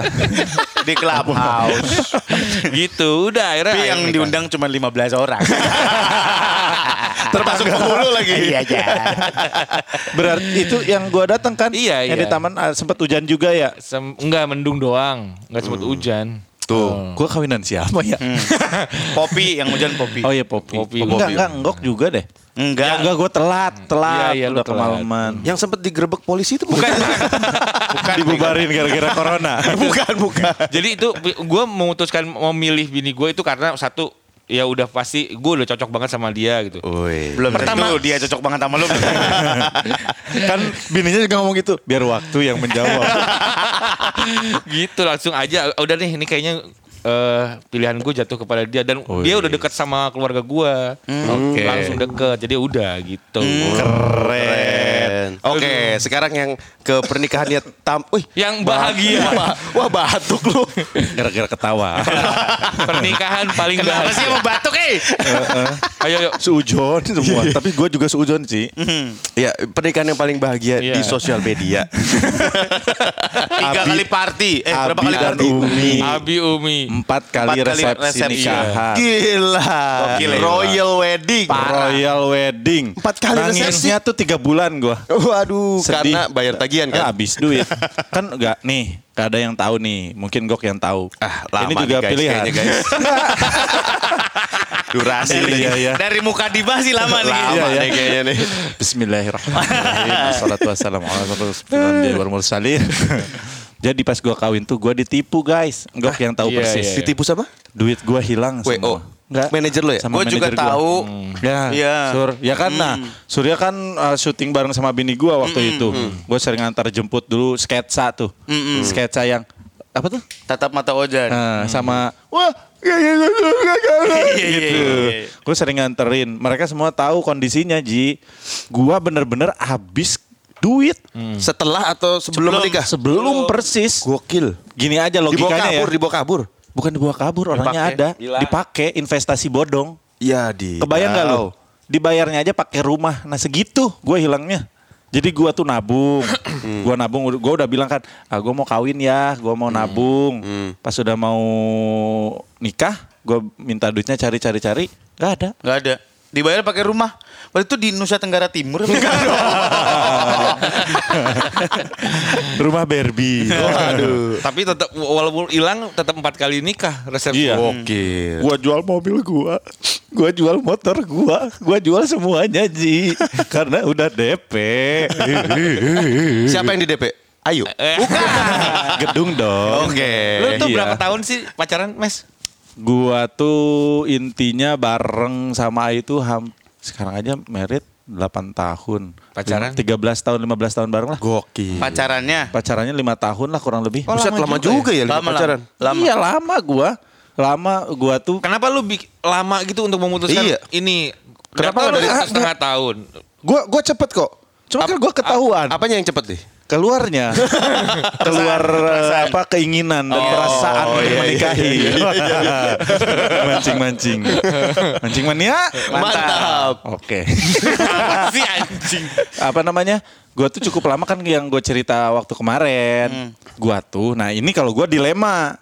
Speaker 3: Di clubhouse. kan.
Speaker 1: gitu udah akhirnya
Speaker 3: Tapi
Speaker 1: akhirnya
Speaker 3: yang
Speaker 1: nikah.
Speaker 3: diundang cuma 15 orang. Termasuk pembuluh lagi. Iya aja.
Speaker 2: Berarti itu yang gua datang kan?
Speaker 1: Iya,
Speaker 2: Yang
Speaker 1: iya.
Speaker 2: di taman ah, sempat hujan juga ya.
Speaker 1: Sem- enggak mendung doang, enggak sempat
Speaker 3: Hmm.
Speaker 1: hujan.
Speaker 2: Tuh. Oh. Gua kawinan siapa ya?
Speaker 1: Hmm.
Speaker 3: Popi yang hujan Popi.
Speaker 2: Oh iya Popi.
Speaker 1: Popi.
Speaker 2: Enggak, enggak ngok juga deh.
Speaker 3: Enggak.
Speaker 2: Enggak, gua telat,
Speaker 1: Iya,
Speaker 2: telat.
Speaker 1: iya, lu
Speaker 2: udah
Speaker 1: telat.
Speaker 2: kemalaman.
Speaker 4: Yang sempat digerebek polisi itu bukan.
Speaker 2: Dibubarin gara-gara corona.
Speaker 4: bukan, bukan.
Speaker 1: Jadi itu gue memutuskan memilih bini gue itu karena satu ya udah pasti gue udah cocok banget sama dia gitu.
Speaker 3: Belum
Speaker 1: Pertama-
Speaker 3: tentu dia cocok banget sama lu.
Speaker 2: kan bininya juga ngomong gitu. Biar waktu yang menjawab.
Speaker 1: gitu langsung aja udah nih ini kayaknya eh, pilihan gue jatuh kepada dia dan
Speaker 3: Oh,
Speaker 1: dia
Speaker 3: iya,
Speaker 1: udah deket sama keluarga gue.
Speaker 4: Hmm.
Speaker 2: Oke.
Speaker 1: Langsung deket. Jadi udah gitu.
Speaker 4: Keren. Oke, sekarang yang ke pernikahannya tam. Wih,
Speaker 1: Yang bahagia.
Speaker 4: wah, wah batuk lu.
Speaker 2: Gara-gara ketawa.
Speaker 1: Pernikahan paling
Speaker 3: Kenapa sih
Speaker 1: bahagia.
Speaker 3: mau batuk eh?
Speaker 1: Ayo yuk.
Speaker 2: Seujon semua. Tapi gue juga seujon sih.
Speaker 4: Ya, pernikahan yang paling bahagia
Speaker 1: Iya.
Speaker 4: di sosial media.
Speaker 2: Abi-
Speaker 3: Tiga kali party. Eh berapa
Speaker 2: Abi
Speaker 3: kali
Speaker 2: dan
Speaker 3: party?
Speaker 2: Umi.
Speaker 1: Abi Umi.
Speaker 2: Empat kali
Speaker 3: Empat kali
Speaker 2: resepsi,
Speaker 3: resepsi. Iya.
Speaker 2: nikahan.
Speaker 4: Gila.
Speaker 3: Gokil ya.
Speaker 4: Royal wedding.
Speaker 2: Royal wedding.
Speaker 4: Empat kali
Speaker 2: Nangisnya tuh tiga bulan gue.
Speaker 4: Waduh,
Speaker 2: Sedih.
Speaker 4: karena bayar tagihan
Speaker 2: Kan
Speaker 4: kan.
Speaker 2: habis duit. kan enggak nih. Gak ada yang tahu nih. Mungkin Gok yang tahu.
Speaker 4: Ah, lama
Speaker 2: Ini juga
Speaker 4: nih guys,
Speaker 2: pilihan.
Speaker 4: kayaknya, guys. Durasi
Speaker 2: Iya,
Speaker 4: nih.
Speaker 2: iya, iya.
Speaker 3: Dari muka Diba sih lama nih.
Speaker 2: Iya,
Speaker 4: Lama
Speaker 2: iya.
Speaker 4: nih kayaknya nih.
Speaker 2: Bismillahirrahmanirrahim. Wassalatu wassalamu ala Rasulillah wal mursalin. Jadi pas gue kawin tuh gue ditipu guys. Gok yang tahu
Speaker 1: Iya,
Speaker 2: persis.
Speaker 1: iya.
Speaker 4: Ditipu sama?
Speaker 2: Duit gue hilang
Speaker 4: WO.
Speaker 2: semua. Nggak.
Speaker 4: Manajer lo ya?
Speaker 2: Sama
Speaker 3: Gue juga
Speaker 2: manajer gua.
Speaker 3: tahu.
Speaker 2: Ya,
Speaker 3: Iya.
Speaker 2: Sur. Ya kan, nah Surya kan uh, syuting bareng sama bini gua waktu itu. Gue sering antar jemput dulu sketsa tuh, sketsa yang apa tuh?
Speaker 3: Tatap mata Ojan.
Speaker 2: Nah, sama wah, ya, ya, ya, ya, ya, ya,
Speaker 3: Iya, iya,
Speaker 2: gitu.
Speaker 3: iya, iya.
Speaker 2: Gue sering nganterin. Mereka semua tahu kondisinya Ji. Gua bener-bener habis duit
Speaker 4: Setelah atau sebelum, menikah?
Speaker 2: sebelum persis.
Speaker 4: Gokil.
Speaker 2: Gini aja
Speaker 4: Dibawa
Speaker 2: logikanya ya.
Speaker 4: kabur, dibawa kabur.
Speaker 2: Bukan dibawa kabur, orangnya
Speaker 3: Dipakai.
Speaker 2: ada. Dipakai investasi bodong.
Speaker 4: Ya di.
Speaker 2: Kebayang gak lu? Dibayarnya aja pakai rumah. Nah segitu gue hilangnya. Jadi gua tuh nabung.
Speaker 4: Hmm.
Speaker 2: gua nabung gua udah bilang kan, ah gua mau kawin ya, gua mau nabung.
Speaker 4: Hmm.
Speaker 2: Pas udah mau nikah, gua minta duitnya cari-cari-cari, nggak ada.
Speaker 3: Gak ada. Dibayar pakai rumah. Waktu itu di Nusa Tenggara Timur. Enggak
Speaker 2: Rumah Barbie.
Speaker 4: Oh, Aduh.
Speaker 1: Tapi tetap walaupun hilang tetap empat kali nikah resepsi.
Speaker 2: Iya.
Speaker 4: Gokil.
Speaker 2: Gua jual mobil gua, gua jual motor gua, gua jual semuanya Ji. Karena udah DP.
Speaker 4: Siapa yang di DP? Ayo.
Speaker 1: Eh,
Speaker 2: Gedung dong.
Speaker 4: Oke.
Speaker 1: lu tuh
Speaker 2: Iya.
Speaker 1: berapa tahun sih pacaran, Mes?
Speaker 2: Gua tuh intinya bareng sama itu ham sekarang aja merit 8 tahun.
Speaker 1: Pacaran?
Speaker 2: Lim- 13 tahun, 15 tahun bareng lah.
Speaker 4: Gokil.
Speaker 3: Pacarannya.
Speaker 2: Pacarannya 5 tahun lah kurang lebih.
Speaker 3: Oh,
Speaker 4: Buset lama juga ya, lima
Speaker 3: Lama,
Speaker 4: pacaran.
Speaker 3: Lama.
Speaker 2: Iya, lama gua. Lama gua tuh
Speaker 1: Kenapa lu bik- lama gitu untuk memutuskan
Speaker 4: Iya.
Speaker 1: ini? Kenapa
Speaker 4: Kenapa nggak dari-
Speaker 1: setengah tahun?
Speaker 2: gua gua cepet kok. Cuma kan gua ketahuan
Speaker 4: Apanya yang cepet nih?
Speaker 2: keluarnya keluar eh, apa keinginan dan perasaan untuk
Speaker 4: oh, iya, iya,
Speaker 2: menikahi. Mancing-mancing. Mancing mania.
Speaker 4: Mantap.
Speaker 2: Oke.
Speaker 1: si anjing.
Speaker 2: apa namanya gua tuh cukup lama kan yang gue cerita waktu kemarin
Speaker 4: Hmm.
Speaker 2: gua tuh nah ini kalau gua dilema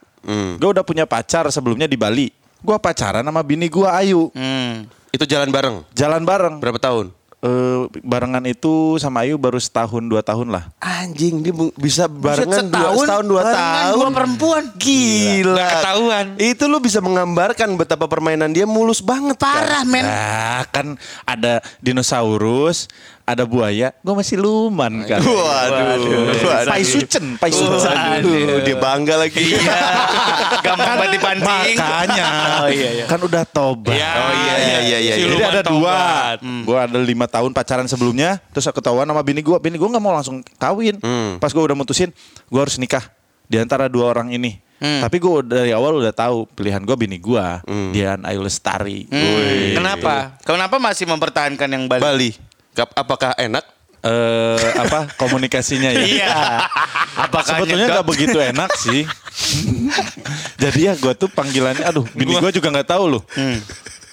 Speaker 2: Gua udah punya pacar sebelumnya di Bali Gua pacaran sama bini gua Ayu
Speaker 3: Hmm.
Speaker 4: Itu jalan bareng.
Speaker 2: jalan bareng
Speaker 4: Berapa tahun?
Speaker 2: Eh, barengan itu sama Ayu baru setahun dua tahun lah
Speaker 4: Anjing dia bu- bisa barengan dua
Speaker 3: setahun,
Speaker 4: setahun dua
Speaker 3: barengan
Speaker 4: tahun. Iya.
Speaker 3: dua perempuan.
Speaker 4: Gila.
Speaker 1: Nggak ketahuan.
Speaker 4: Itu lu bisa menggambarkan betapa permainan dia mulus banget. kan?
Speaker 3: Parah men.
Speaker 2: ah kan ada dinosaurus ada buaya Gua masih luman kan
Speaker 4: Waduh.
Speaker 2: Pai Sucen Pai Sucen
Speaker 4: Waduh, dia bangga lagi.
Speaker 3: iya. Gampang banget dipancing.
Speaker 2: makanya kan udah tobat
Speaker 1: Ya,
Speaker 4: Oh, iya, Hmm. iya, iya, iya.
Speaker 1: siluman
Speaker 2: Jadi ada dua.
Speaker 1: tobat.
Speaker 2: Gue ada lima tahun pacaran sebelumnya, terus aku ketahuan sama bini gue. Bini gue nggak mau langsung kawin.
Speaker 4: Hmm.
Speaker 2: Pas gue udah mutusin, gue harus nikah di antara dua orang ini.
Speaker 4: Hmm.
Speaker 2: Tapi gue dari awal udah tahu pilihan gue bini gue, Dian Ayu Lestari.
Speaker 4: Hmm.
Speaker 2: Wih.
Speaker 1: Kenapa?
Speaker 3: Hmm. Kenapa masih mempertahankan yang Bali?
Speaker 4: Bali. Kap- Apakah enak?
Speaker 2: Eh, apa komunikasinya ya?
Speaker 3: Iya. Apakah
Speaker 2: Sebetulnya nggak begitu enak sih. Jadi ya gue tuh panggilannya, aduh, bini gue juga nggak tahu loh.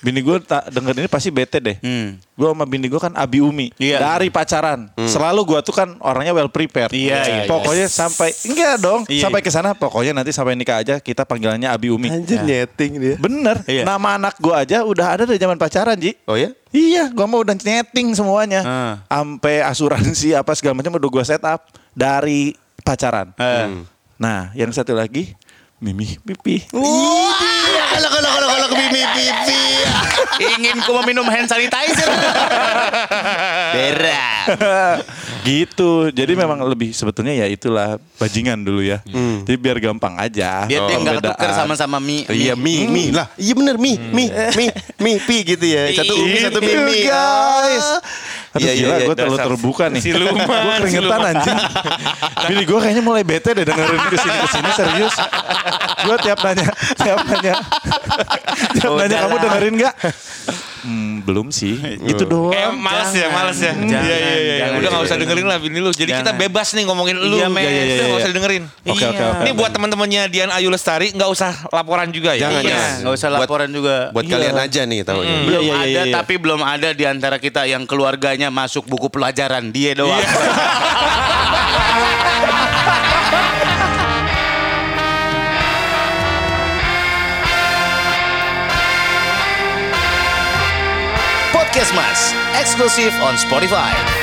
Speaker 2: Bini gue tak denger ini pasti bete deh.
Speaker 3: Hmm.
Speaker 2: Gue sama bini gue kan abi umi
Speaker 3: Iya. Hmm.
Speaker 2: dari pacaran. Selalu gue tuh kan orangnya well prepared.
Speaker 3: Iya, iya, iya.
Speaker 2: Pokoknya sampai enggak dong.
Speaker 3: Iya.
Speaker 2: Sampai ke sana pokoknya nanti sampai nikah aja kita panggilannya abi umi.
Speaker 4: Anjir
Speaker 2: Ya.
Speaker 4: nyeting dia.
Speaker 2: Bener.
Speaker 3: Iya.
Speaker 2: Nama anak gue aja udah ada dari zaman pacaran Ji.
Speaker 4: Oh ya?
Speaker 2: Iya, gua mau udah nyeting semuanya.
Speaker 3: Ah.
Speaker 2: Sampai asuransi apa segala macam udah gua setup dari pacaran.
Speaker 3: Eh.
Speaker 4: Hmm.
Speaker 2: Nah, yang satu lagi Mimi pipi.
Speaker 4: Uh. Iya, kalau kalau kalau kalau ke pipi pipi.
Speaker 3: Ingin ku meminum hand sanitizer. Berat.
Speaker 2: gitu. Jadi memang lebih sebetulnya ya itulah bajingan dulu ya. Jadi biar gampang aja. Oh,
Speaker 3: Biar dia nggak
Speaker 2: perbedaan.
Speaker 3: ketuker sama-sama mie.
Speaker 4: Iya mi mi lah. Iya bener mi mi mi mi pi gitu ya. Satu umi satu mi mi.
Speaker 2: Itu, Iya, guys. Aduh
Speaker 4: Iya, iya,
Speaker 2: gila
Speaker 4: iya,
Speaker 2: gue terlalu
Speaker 4: dasar.
Speaker 2: terbuka nih.
Speaker 1: Siluman,
Speaker 2: Gue keringetan
Speaker 1: siluman.
Speaker 2: anjing. Bini gue kayaknya mulai bete deh dengerin kesini kesini serius. Gue tiap nanya, tiap nanya,
Speaker 4: Oh,
Speaker 2: tiap
Speaker 3: Udahlah.
Speaker 2: nanya kamu dengerin nggak? Hmm, belum sih. Itu doang.
Speaker 3: Eh,
Speaker 1: Kayak males ya, males ya. Iya,
Speaker 3: jangan,
Speaker 1: iya, iya.
Speaker 3: jangan.
Speaker 1: Udah gak usah dengerin lah bini lu. Jadi kita
Speaker 3: Jangan.
Speaker 1: bebas nih ngomongin lu.
Speaker 3: Iya, men.
Speaker 1: Udah
Speaker 2: Iya,
Speaker 1: nggak
Speaker 2: iya.
Speaker 1: usah dengerin.
Speaker 2: Oke oke oke.
Speaker 1: Ini buat teman-temannya Dian Ayu Lestari nggak usah laporan juga ya.
Speaker 4: Jangan,
Speaker 1: Iya.
Speaker 4: jangan.
Speaker 3: Iya, nggak usah
Speaker 4: Buat-
Speaker 3: laporan juga. Iya.
Speaker 4: Buat kalian aja nih tahunya.
Speaker 2: Iya,
Speaker 3: belum
Speaker 2: iya, iya,
Speaker 3: ada
Speaker 2: iya.
Speaker 3: tapi belum ada di antara kita yang keluarganya masuk buku pelajaran dia doang.
Speaker 2: Iya.
Speaker 3: Podcast Mas, eksklusif on Spotify.